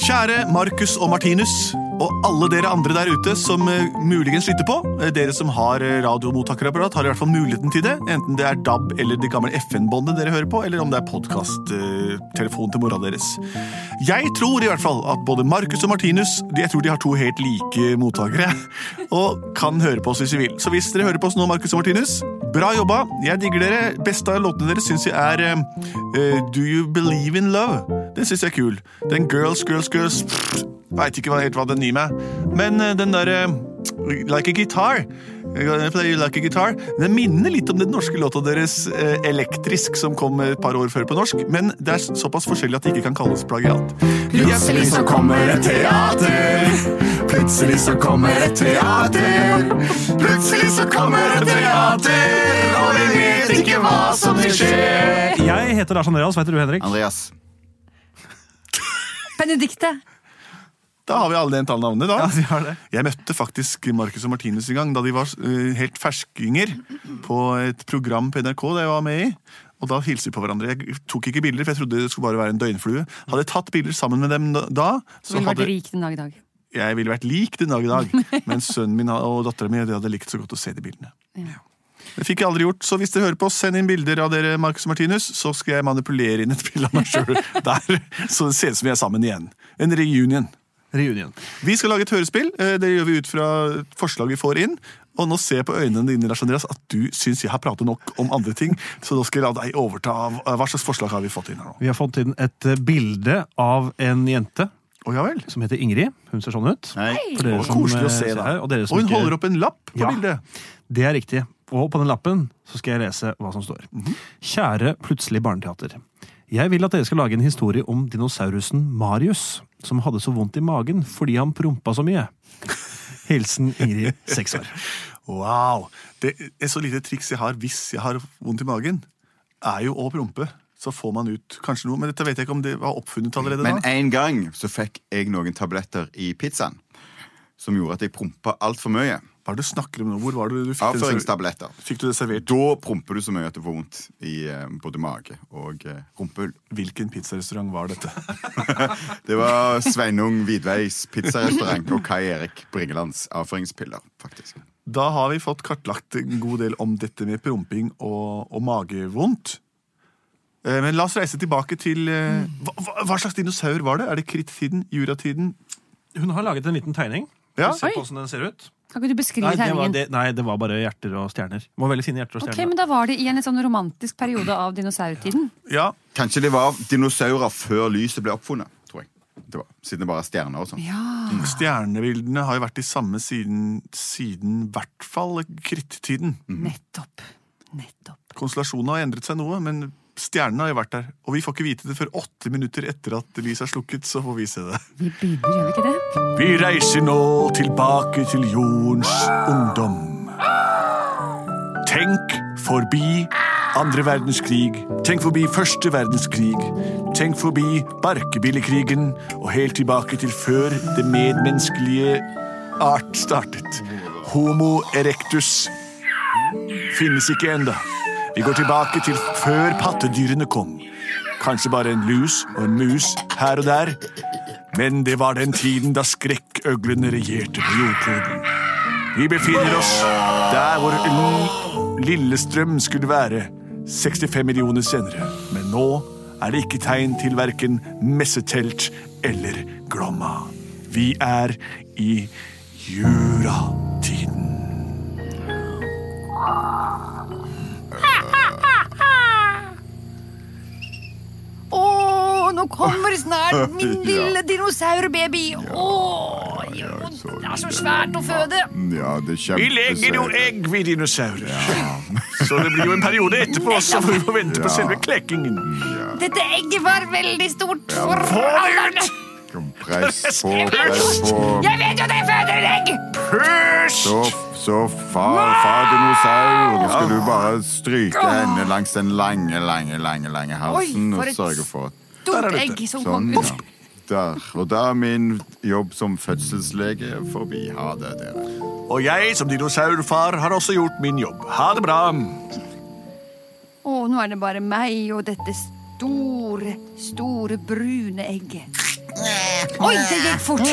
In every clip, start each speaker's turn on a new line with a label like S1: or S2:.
S1: Kjære Markus og Martinus, og alle dere andre der ute som eh, muligens lytter på. Eh, dere som har eh, radiomottakerapparat, har i hvert fall muligheten til det. Enten det er DAB eller det gamle FN-båndet dere hører på, eller om det er podkasttelefonen til mora deres. Jeg tror i hvert fall at både Markus og Martinus de- jeg tror de har to helt like mottakere. Og kan høre på oss hvis de vil. Så hvis dere hører på oss nå, Markus og Martinus, bra jobba. Jeg digger dere. Beste av låtene deres syns jeg er eh, eh, Do You Believe In Love. Den syns jeg er kul. Den Girls, Girls, Girls pff, Veit ikke hva- helt hva den gir meg. Men eh, den derre Like a guitar. eh, Play Like a guitar. Den minner litt om den norske låta deres eh, Elektrisk, som kom et par år før på norsk, men det er såpass forskjellig at det ikke kan kalles plagiat.
S2: Plutselig så kommer et teater. Plutselig så kommer et teater. Plutselig så kommer et teater, og vi vet ikke hva som vil skje.
S3: Jeg heter Lars Andreas, hva heter du Henrik?
S2: Andreas.
S4: Benedikte.
S1: Da har vi alle de tallene navnene, da.
S3: Ja, vi har det.
S1: Jeg møtte faktisk Marcus og Martinus en gang da de var eh, helt ferskinger på et program på NRK det jeg var med i. Og da hilste vi på hverandre. Jeg tok ikke bilder, for jeg trodde det skulle bare være en døgnflue. Hadde jeg tatt bilder sammen med dem da,
S4: Du ville vært rik den dag i dag.
S1: jeg ville vært lik den dag i dag. Men sønnen min og dattera mi hadde likt så godt å se de bildene. Det fikk jeg aldri gjort, så hvis dere hører på oss, send inn bilder av dere, Marcus og Martinus, så skal jeg manipulere inn et bilde av meg sjøl der, så det ser ut som vi er sammen igjen. En reunion.
S3: Reunion.
S1: Vi skal lage et hørespill. Eh, Det gjør vi ut fra forslag vi får inn. Og nå ser jeg på øynene dine Lars Andreas, at du syns jeg har pratet nok om andre ting. Så nå skal jeg la deg overta. av- Hva slags forslag har vi fått inn her nå?
S3: Vi har fått inn et eh, bilde av en jente
S1: Å ja vel.
S3: som heter Ingrid. Hun ser sånn ut.
S2: Nei.
S3: For dere
S1: Å,
S3: som,
S1: koselig
S3: eh,
S1: å se,
S3: ser
S1: da.
S3: her, og dere som
S1: Og hun
S3: ikke-
S1: holder opp en lapp på
S3: Ja.
S1: bildet.
S3: Det er riktig. Og på den lappen så skal jeg lese hva som står.
S1: Mhm.
S3: Kjære Plutselig barneteater. Jeg vil at dere skal lage en historie om dinosaurusen Marius, som hadde så vondt i magen fordi han prompa så mye. Hilsen Ingrid, seks år.
S1: Wow. Det er så lite triks jeg har hvis jeg har vondt i magen, er jo å prompe. Så får man ut kanskje noe. Men dette vet jeg ikke om det var oppfunnet allerede
S2: Men
S1: da.
S2: en gang så fikk jeg noen tabletter i pizzaen som gjorde at jeg prompa altfor mye.
S1: Hva er det du snakker om nå? Hvor var det du fikk, det servert?
S2: Avføringstabletter.
S1: fikk du det servert?
S2: Da promper du så mye at du får vondt i eh, både mage og eh, rumpehull.
S1: Hvilken pizzarestaurant var dette?
S2: Det var Sveinung Vidveis pizzarestaurant og Kai Erik Bringelands avføringspiller, faktisk.
S1: Da har vi fått kartlagt en god del om dette med promping og, og magevondt. Eh, Men la oss reise tilbake til eh, hva, hva- hva slags dinosaur var det? Er det krittiden? Juratiden?
S3: Hun har laget en liten tegning.
S1: Ja.
S3: Se på
S4: Oi.
S3: hvordan den ser ut.
S4: Kan ikke du beskrive
S3: Nei det, var,
S4: tegningen?
S3: det, nei, det var bare hjerter og stjerner. Det var veldig fine hjerter og
S4: Ok,
S3: stjerner.
S4: men Da var det i en litt sånn romantisk periode av dinosaurtiden.
S1: Ja.
S2: Kanskje det var dinosaurer før lyset ble oppfunnet, tror jeg. Det var, siden det bare er stjerner og sånn.
S1: Stjernebildene har jo vært de samme siden, siden i hvert fall krittiden.
S4: Mhm. Nettopp. Nettopp.
S1: Konstellasjonene har endret seg noe, men stjernene har jo vært der. Og vi får ikke vite det før åtte minutter etter at lyset er slukket. så får vi se det.
S4: Vi begynner, gjør vi ikke det?
S1: Vi reiser nå tilbake til jordens ungdom. Tenk forbi andre verdenskrig. Tenk forbi første verdenskrig. Tenk forbi barkebillekrigen og helt tilbake til før det medmenneskelige art startet. Homo erectus finnes ikke enda. Vi går tilbake til før pattedyrene kom. Kanskje bare en lus og en mus her og der. Men det var den tiden da skrekkøglene regjerte på jordkloden. Vi befinner oss der hvor L- Lillestrøm skulle være 65 millioner senere. Men nå er det ikke tegn til verken messetelt eller Glomma. Vi er i juratiden.
S4: Å, nå kommer snart min
S2: Ja.
S4: lille dinosaurbaby! Å, jo, det er så svært å føde!
S2: Ja, det er
S1: Vi legger jo
S2: kjempesøte.
S1: egg, vi dinosaurer. Så det blir jo en periode etterpå også, for vi må vente på selve klekkingen.
S2: Ja.
S4: Dette egget var veldig stort. For
S2: Få det
S4: alderen.
S2: ut!
S5: Kom, Press på,
S4: Jeg
S5: press
S4: vet-
S5: på.
S4: Jeg vet jo at jeg føder et egg!
S2: Pysj!
S5: Så, så far, far dinosaur, nå skal du bare stryke henne langs den lange, lange, lange lange halsen
S4: Oi, for
S5: og
S4: et
S5: sørge for at
S2: Der er
S4: Dumt
S2: det
S4: egg som kom
S5: Sånn,
S4: ut.
S5: ja. Der. Og da er min jobb som fødselslege forbi. Ha det, dere.
S2: Og jeg som dinosaurfar har også gjort min jobb. Ha det bra.
S4: Å, nå er det bare meg og dette store, store brune egget. Oi, det gikk fort!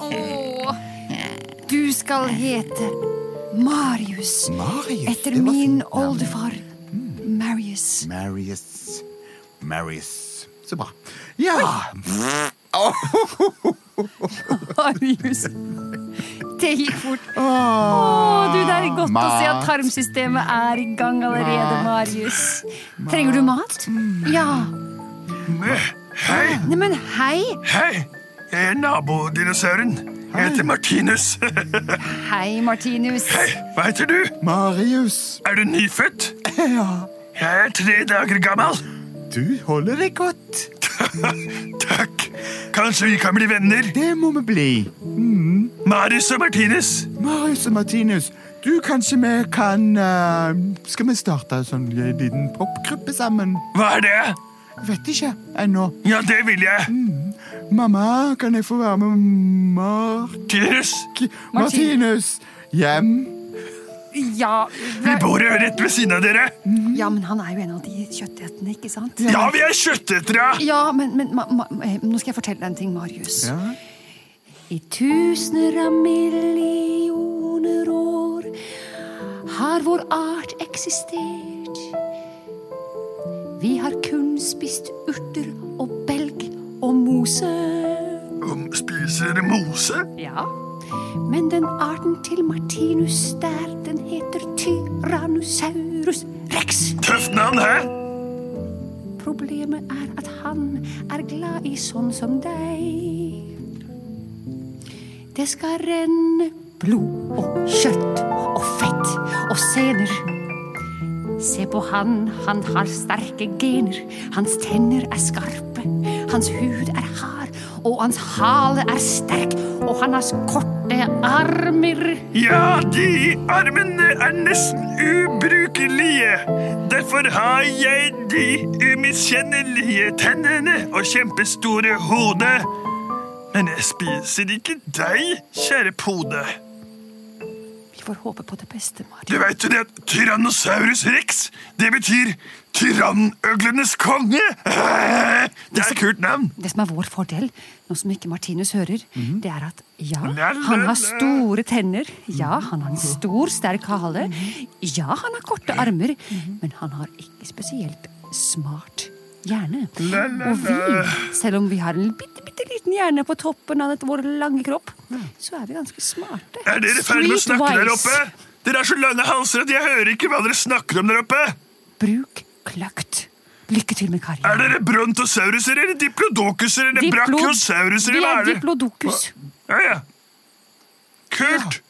S4: Å, du skal hete Marius.
S5: Marius,
S4: Etter
S5: det var
S4: min
S5: fint navn.
S4: oldefar Marius.
S5: Marius. Marius. Så bra. Ja.
S4: Marius. Det gikk fort. Å, du, det er godt å se at
S5: Mat.
S4: tarmsystemet er i gang allerede, Marius. Trenger du mat? Ja.
S2: Hei,
S4: Neimen, hei.
S2: hei. Jeg er nabodinosauren. Jeg heter Martinus.
S4: Hei, Martinus.
S2: Hva heter du?
S5: Marius,
S2: Er du nyfødt? Ja. Jeg er tre dager gammel.
S5: du holder deg godt.
S2: Takk. Kanskje vi kan bli venner?
S5: Det må vi bli.
S2: Marius og Martinus.
S5: Marius og Martinus, du kanskje vi kan eh, Skal vi starte en sånn eh, liten popgruppe sammen?
S2: Hva er det?
S5: Vet ikke ennå.
S2: Ja, det vil jeg.
S5: Mamma, kan jeg få være med Mark
S2: Martinus,
S5: Martinus hjem?
S4: Ja,
S2: vi bor jo rett ved siden av dere.
S4: ja, men han er jo en av de kjøttetene, ikke sant?
S2: Ja, vi er kjøttetere.
S4: Ja, men, men ma, ma, eh, nå skal jeg fortelle deg en ting, Marius.
S5: Ja.
S4: I tusener av millioner år har vår art eksistert. Vi har kun spist urter og belg og mose.
S2: Um, Spiser dere mose?
S4: Ja. Men den arten til Martinus der, den heter Tyrannosaurus rex.
S2: Tøft navn, hæ?
S4: Problemet er at han er glad i sånn som deg. Det skal renne blod og kjøtt og fett og sener. Se på han, han har sterke gener. Hans tenner er skarpe, hans hud er hard, og hans hale er sterk, og han har korte armer.
S2: Ja, de armene er nesten ubrukelige. Derfor har jeg de umiskjennelige tennene og kjempestore hodet. Men jeg spiser ikke deg, kjære pode.
S4: Vi får håpe på det beste, Mari.
S2: Du vet jo det at Tyrannosaurus rex, det betyr tyrannøglenes konge. Det er et kult navn.
S4: Det som er vår fordel, nå som ikke Martinus hører,
S2: Mhm.
S4: det er at ja,
S2: La, la,
S4: han
S2: la.
S4: har store tenner. Ja, han har en
S2: Mhm.
S4: stor, sterk hale. Ja, han har korte armer.
S2: Mhm.
S4: Men han har ikke spesielt smart hjerne. Og vi, selv om vi har en bitte, bitte liten hjerne på toppen av dette vår lange kropp, så er vi ganske smarte.
S2: Er dere ferdig med å snakke der
S4: Streetwise.
S2: oppe? Dere har så lange halser at jeg hører ikke hva dere snakker om der oppe.
S4: Bruk kløkt. Lykke til med karrieren.
S2: Er dere brontosauruser eller diplodocusere eller
S4: Diplo-
S2: brachiosauruser
S4: Vi
S2: eller hva
S4: er
S2: er det?
S4: diplodokus.
S2: Ja, ja. Kult!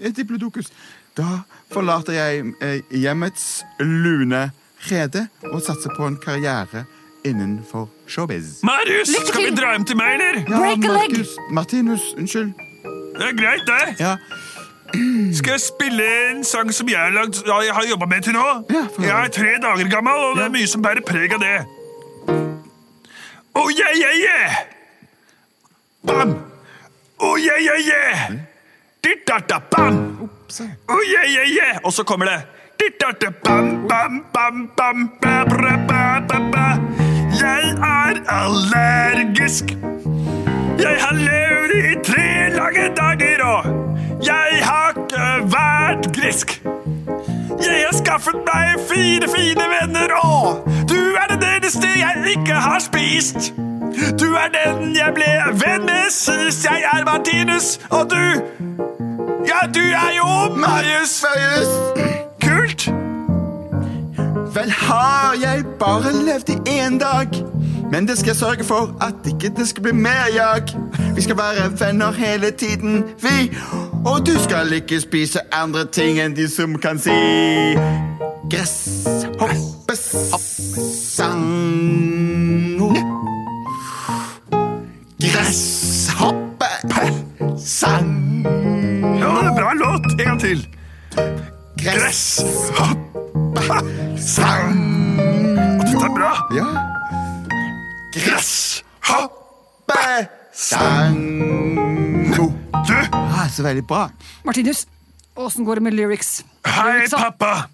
S5: Et Diplodokus. Da forlater jeg eh, hjemmets lune rede og satser på en karriere innenfor showbiz.
S2: Marius,
S4: Lykke
S2: skal vi
S4: til.
S2: dra hjem til meg, eller?
S5: Ja,
S4: Break a leg!
S5: Markus- Martinus, unnskyld.
S2: Det er greit, det.
S5: Ja,
S2: Skal jeg spille en sang som jeg har, lagd, ja, jeg har jobba med til nå?
S5: Ja, få høre.
S2: jeg er tre dager gammel, og det
S5: Ja.
S2: er mye som bærer preg av det. Oh yeah, yeah, yeah! Bam! Oh yeah, yeah, yeah! Ditt-datta, bam! Oh yeah, yeah, yeah! Og så kommer det Ditt-datta, bam, bam, bam, bam, ba, bra, ba, ba, ba. Jeg er allergisk. Jeg har levd i tre lange dager, og jeg har ikke vært grisk. Jeg har skaffet meg fire fine venner, og du er den eneste jeg ikke har spist. Du er den jeg ble venn med sist. Jeg er Martinus, og du Ja, du er jo Marius.
S5: Marius!
S2: Kult.
S5: Vel har jeg bare levd i én dag. Men det skal jeg sørge for at ikke det skal bli mer jag. Vi skal være venner hele tiden, vi. Og du skal ikke spise andre ting enn de som kan si gress, hoppes,
S6: Gresshoppesang. Du!
S5: Ah, så veldig bra.
S4: Martinus, åssen går det med lyrics?
S2: Hei,
S4: Lyricsa?
S2: pappa!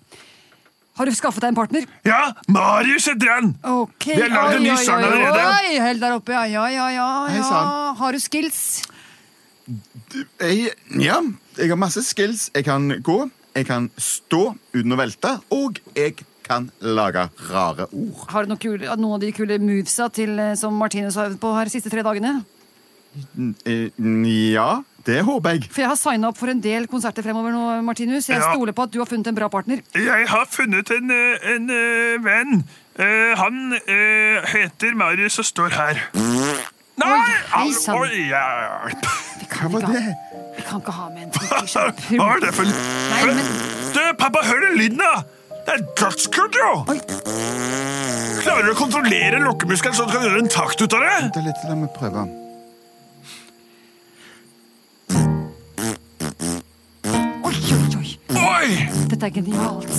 S4: Har du skaffet deg en partner?
S2: Ja, Marius heter han!
S4: Ok.
S2: Vi har lagd en ny
S4: Oi, oi,
S2: sang
S4: oi,
S2: allerede.
S4: Oi, helt der oppe, ja, ja, ja, ja,
S5: Hei,
S4: ja.
S5: sann.
S4: Har du skills?
S5: Jeg, ja, jeg har masse skills. Jeg kan gå, jeg kan stå uten å velte, og jeg kan lage rare ord.
S4: Har du noen, kule, noen av de kule movesa til, eh, som Martinus har øvd på her de siste tre dagene?
S5: N- eh, Ja, det håper jeg.
S4: For jeg har signa opp for en del konserter fremover nå, Martinus. Jeg
S2: Ja.
S4: stoler på at du har funnet en bra partner.
S2: Jeg har funnet en, eh, en eh, venn. Eh, han eh, heter Marius og står her. Nei!
S4: hei,
S2: au,
S4: sann.
S2: oi, hjelp.
S5: Hva var det?
S4: Vi kan ikke ha med en fyr som
S2: Hva er det for
S4: Nei, men
S2: Du, pappa, hør den lyden, da! Det er dødskult, jo! Klarer du å kontrollere lokkemuskelen så du kan gjøre en takt ut av det?
S5: Vent litt, la meg prøve.
S4: Oi, oi, oi.
S2: Oi!
S4: Dette er genialt.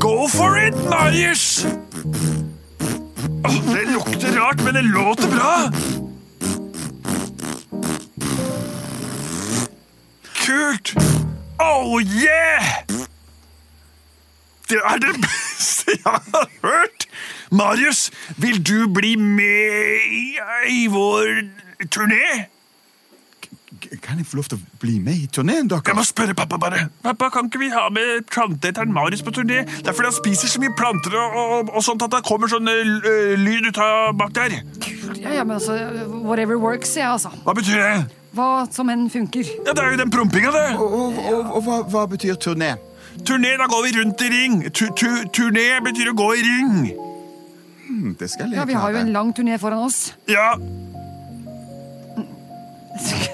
S2: Go for it, Marius! Åh, det lukter rart, men det låter bra. Kult! Oh yeah! Det er det beste jeg har hørt! Marius, vil du bli med i, i vår turné?
S5: K- Kan jeg få lov til å bli med i turneen,
S2: Jeg må
S5: dere?
S2: spørre pappa bare. Pappa, Kan ikke vi ha med planteeteren Marius på turné? Det er fordi han spiser så mye planter og, og, og sånt at det kommer sånn eh, l- eh, lyd ut av bak der.
S4: Ja, ja, men altså, Whatever works, ja, altså.
S2: Hva betyr det?
S4: Hva som enn funker.
S2: Ja, Det er jo den prompinga, det.
S5: Og, og, og, og hva, hva betyr turné?
S2: Turné, da går vi rundt i ring. Tu, tu, turné betyr å gå i ring.
S5: Hm, Det skal jeg
S4: Ja, Vi har jo
S5: klare.
S4: en lang turné foran oss.
S2: Ja,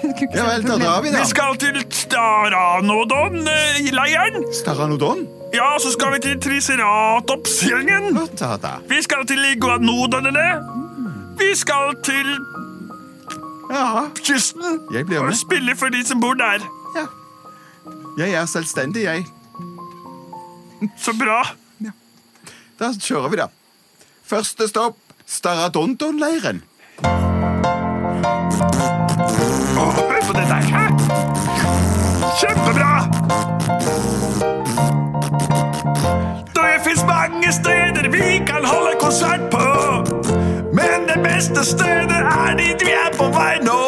S5: Ja vel, da drar vi, da.
S2: vi skal til Staranodon-leiren.
S5: Staranodon?
S2: Ja, så skal vi til Triceratops-gjengen.
S5: Hva da, da?
S2: Vi skal til iguanodonene. Vi skal til
S5: Ja,
S2: kysten.
S5: jeg blir
S2: Og
S5: med.
S2: spille for de som bor der.
S5: Ja. Jeg er selvstendig, jeg.
S2: Så bra.
S5: Da kjører vi, da. Første stopp Staradondon-leiren.
S2: Åh, hør på det der. Hæ? Kjempebra! Det fins mange steder vi kan holde konsert på. Men det beste stedet er dit vi er på vei nå.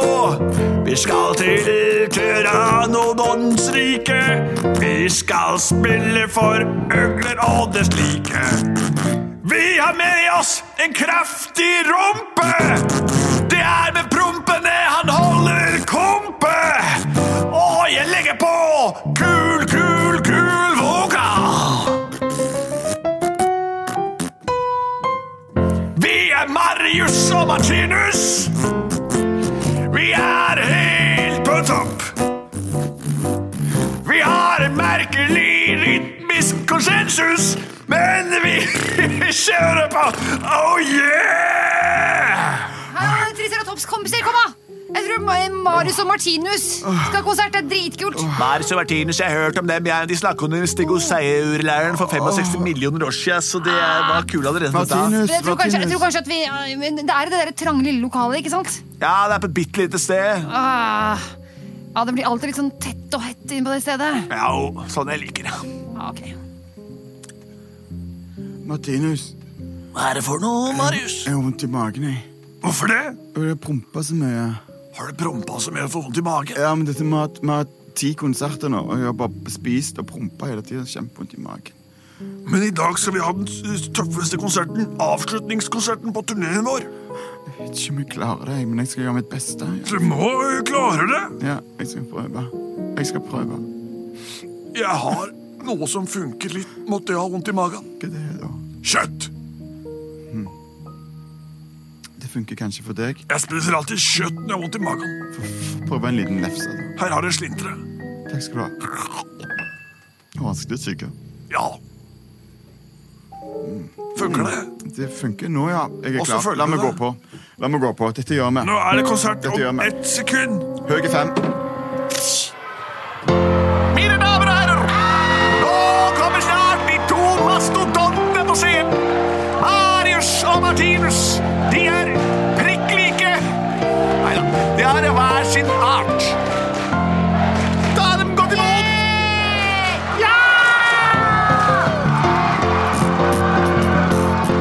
S2: Vi skal til Tyranodons rike. Vi skal spille for øgler og det slike. Vi har med oss en kraftig rumpe. Det er med prompene han holder kompe. Og jeg legger på kul, kul, kul vokal. Vi er Marius og Martinus. Vi er helt på topp. Vi har en merkelig rytmisk konsensus, men vi kjører på. Oh yeah!
S4: Triceratops-kompiser, kom, da! Jeg tror Ma- Marius og Martinus skal ha konsert. Det er dritkult.
S2: Marius og Martinus, jeg har hørt om dem. Jeg, de snakket om Stigoseierleiren for 65 millioner år siden, så det er- var kul allerede da.
S5: Martinus,
S4: Men Jeg tror, kanskje, jeg
S5: Martinus.
S4: tror kanskje at vi ja, men Det er i det der trange, lille lokalet, ikke sant?
S2: Ja, det er på et bitte lite sted.
S4: Ah, ja, Det blir alltid litt sånn tett og hett inne på det stedet.
S2: Ja, jo, sånn jeg liker det.
S4: Ja, ok.
S5: Martinus,
S2: Hva er det for noe, Marius?
S5: jeg har vondt i magen, jeg.
S2: Hvorfor det?
S5: Og det promper så mye.
S2: Har du prompa så mye og får vondt i magen?
S5: Ja, men dette med at vi har hatt ti konserter nå, og jeg har bare spist og prompa hele tiden. Kjempevondt i magen.
S2: Men i dag skal vi ha den s- tøffeste konserten, avslutningskonserten på turneen vår.
S5: Jeg vet ikke om jeg klarer det, jeg, men jeg skal gjøre mitt beste.
S2: Du må jo klare det.
S5: Ja, jeg skal prøve. Jeg skal prøve.
S2: Jeg har noe som funker litt. Måtte jeg ha vondt i magen?
S5: Hva er det, da?
S2: Kjøtt!
S5: Det funker kanskje for deg.
S2: Jeg spiser alltid kjøtt når jeg har vondt i magen.
S5: Prøv en liten lefse, da.
S2: Her har du slintret.
S5: Takk skal du ha. Å, Vanskelig å tygge.
S2: Ja. Mm. Funker det?
S5: Det funker nå, ja. Jeg er
S2: Og så
S5: klar.
S2: følger
S5: La meg
S2: det.
S5: gå på. La meg gå på. Dette gjør vi.
S2: Nå er det konsert
S5: Dette gjør
S2: om
S5: vi.
S2: ett sekund.
S5: Høye fem.
S2: Mine damer og herrer, nå kommer snart de to mastodontene på scenen. Martinus. De er prikk like. Nei da, de har hver sin art. Da er dem godt imot!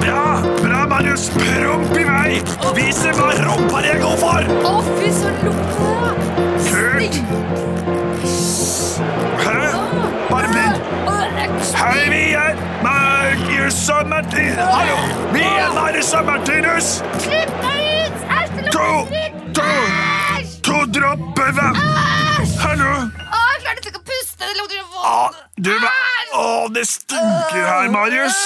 S2: Bra, bra, Marius. Promp i vei. Vis dem hva rumpa jeg går for.
S4: Å, fy, så lukter det!
S2: Kult. Hæ? Bare vent. Hei, vi er Marcus og Martin. Hallo, vi er Marius og Martinus.
S4: Slipp meg ut! Æsj, det
S2: To,
S4: lukter dritt!
S2: to,
S4: Æsj!
S2: to dropper vann.
S4: Æsj!
S2: Hallo.
S4: Å, jeg klarte ikke å puste. Det lukter så
S2: Å,
S4: vondt.
S2: du, hva- å, det stinker Ah, her, Marius.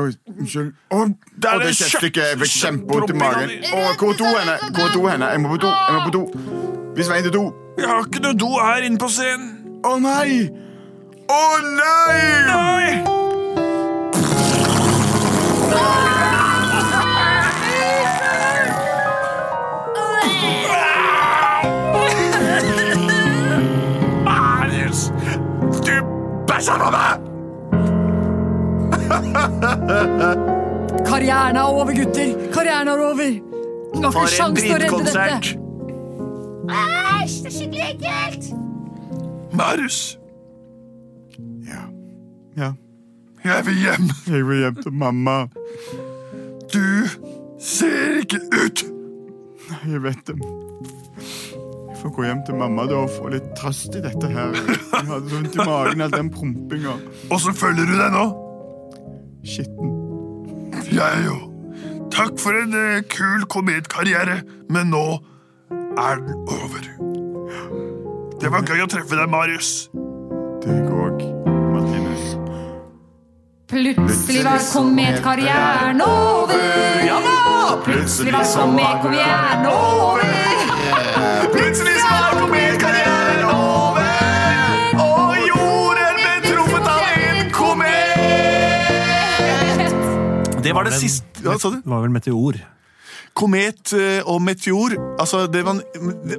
S5: Oi, unnskyld. Å,
S2: er
S5: å, det
S2: en
S5: kjøttstykke. Jeg fikk
S2: kjøtt-
S5: kjempevondt i magen. Å, hvor er do henne? Hvor er do henne? Jeg må på do. Jeg må på do. Vis veien til do.
S2: Vi har ikke noe do her inne på scenen.
S5: Å nei! Å nei!
S2: Nei. Marius, du bæsja på meg!
S4: Karrieren er over, gutter. Karrieren er over. Du har ikke sjans til å redde dette. Æsj, det er skikkelig ekkelt.
S2: Marius,
S5: Ja. ja.
S2: jeg vil hjem.
S5: Jeg vil hjem til mamma.
S2: Du ser ikke ut.
S5: Jeg vet det. Jeg får gå hjem til mamma da og få litt trøst i dette her. Jeg hadde så vondt i magen all den prompinga.
S2: Åssen føler du deg nå?
S5: Skitten.
S2: Jeg jo. Takk for en eh, kul kometkarriere, men nå er den over. Det var gøy å treffe deg, Marius.
S5: Det går òg, Martinus.
S4: Plutselig var kometkarrieren over. Ja da! Plutselig var kometkarrieren over.
S2: Plutselig var kometkarrieren over, og jorden ble truffet av en komet.
S1: Det var det siste ja, sa du?
S3: Det var vel meteor.
S1: Komet eh, og meteor, altså det man,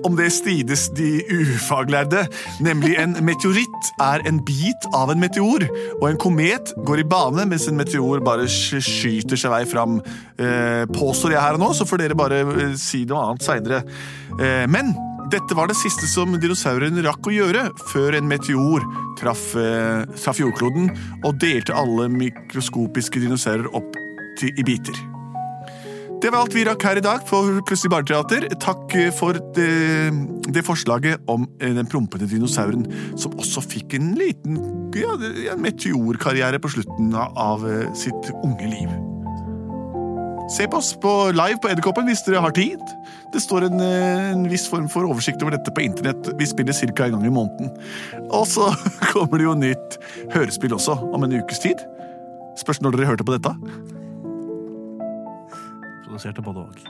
S1: om det strides de ufaglærde. Nemlig en meteoritt er en bit av en meteor, og en komet går i bane mens en meteor bare sk- skyter seg vei fram. Eh, påstår jeg her og nå, så får dere bare eh, si noe annet seinere. Eh, men dette var det siste som dinosauren rakk å gjøre før en meteor traff, eh, traff jordkloden og delte alle mikroskopiske dinosaurer opp til, i biter. Det var alt vi rakk her i dag for Plutselig barneteater. Takk eh, for det, det forslaget om eh, den prompete dinosauren, som også fikk en liten ja, en meteorkarriere på slutten av- av eh, sitt unge liv. Se på oss på live på Edderkoppen hvis dere har tid. Det står en, eh, en viss form for oversikt over dette på internett. Vi spiller ca. en gang i måneden. Og så kommer det jo nytt hørespill også, om en ukes tid. Spørs når dere hørte på dette.
S3: Produserte både og.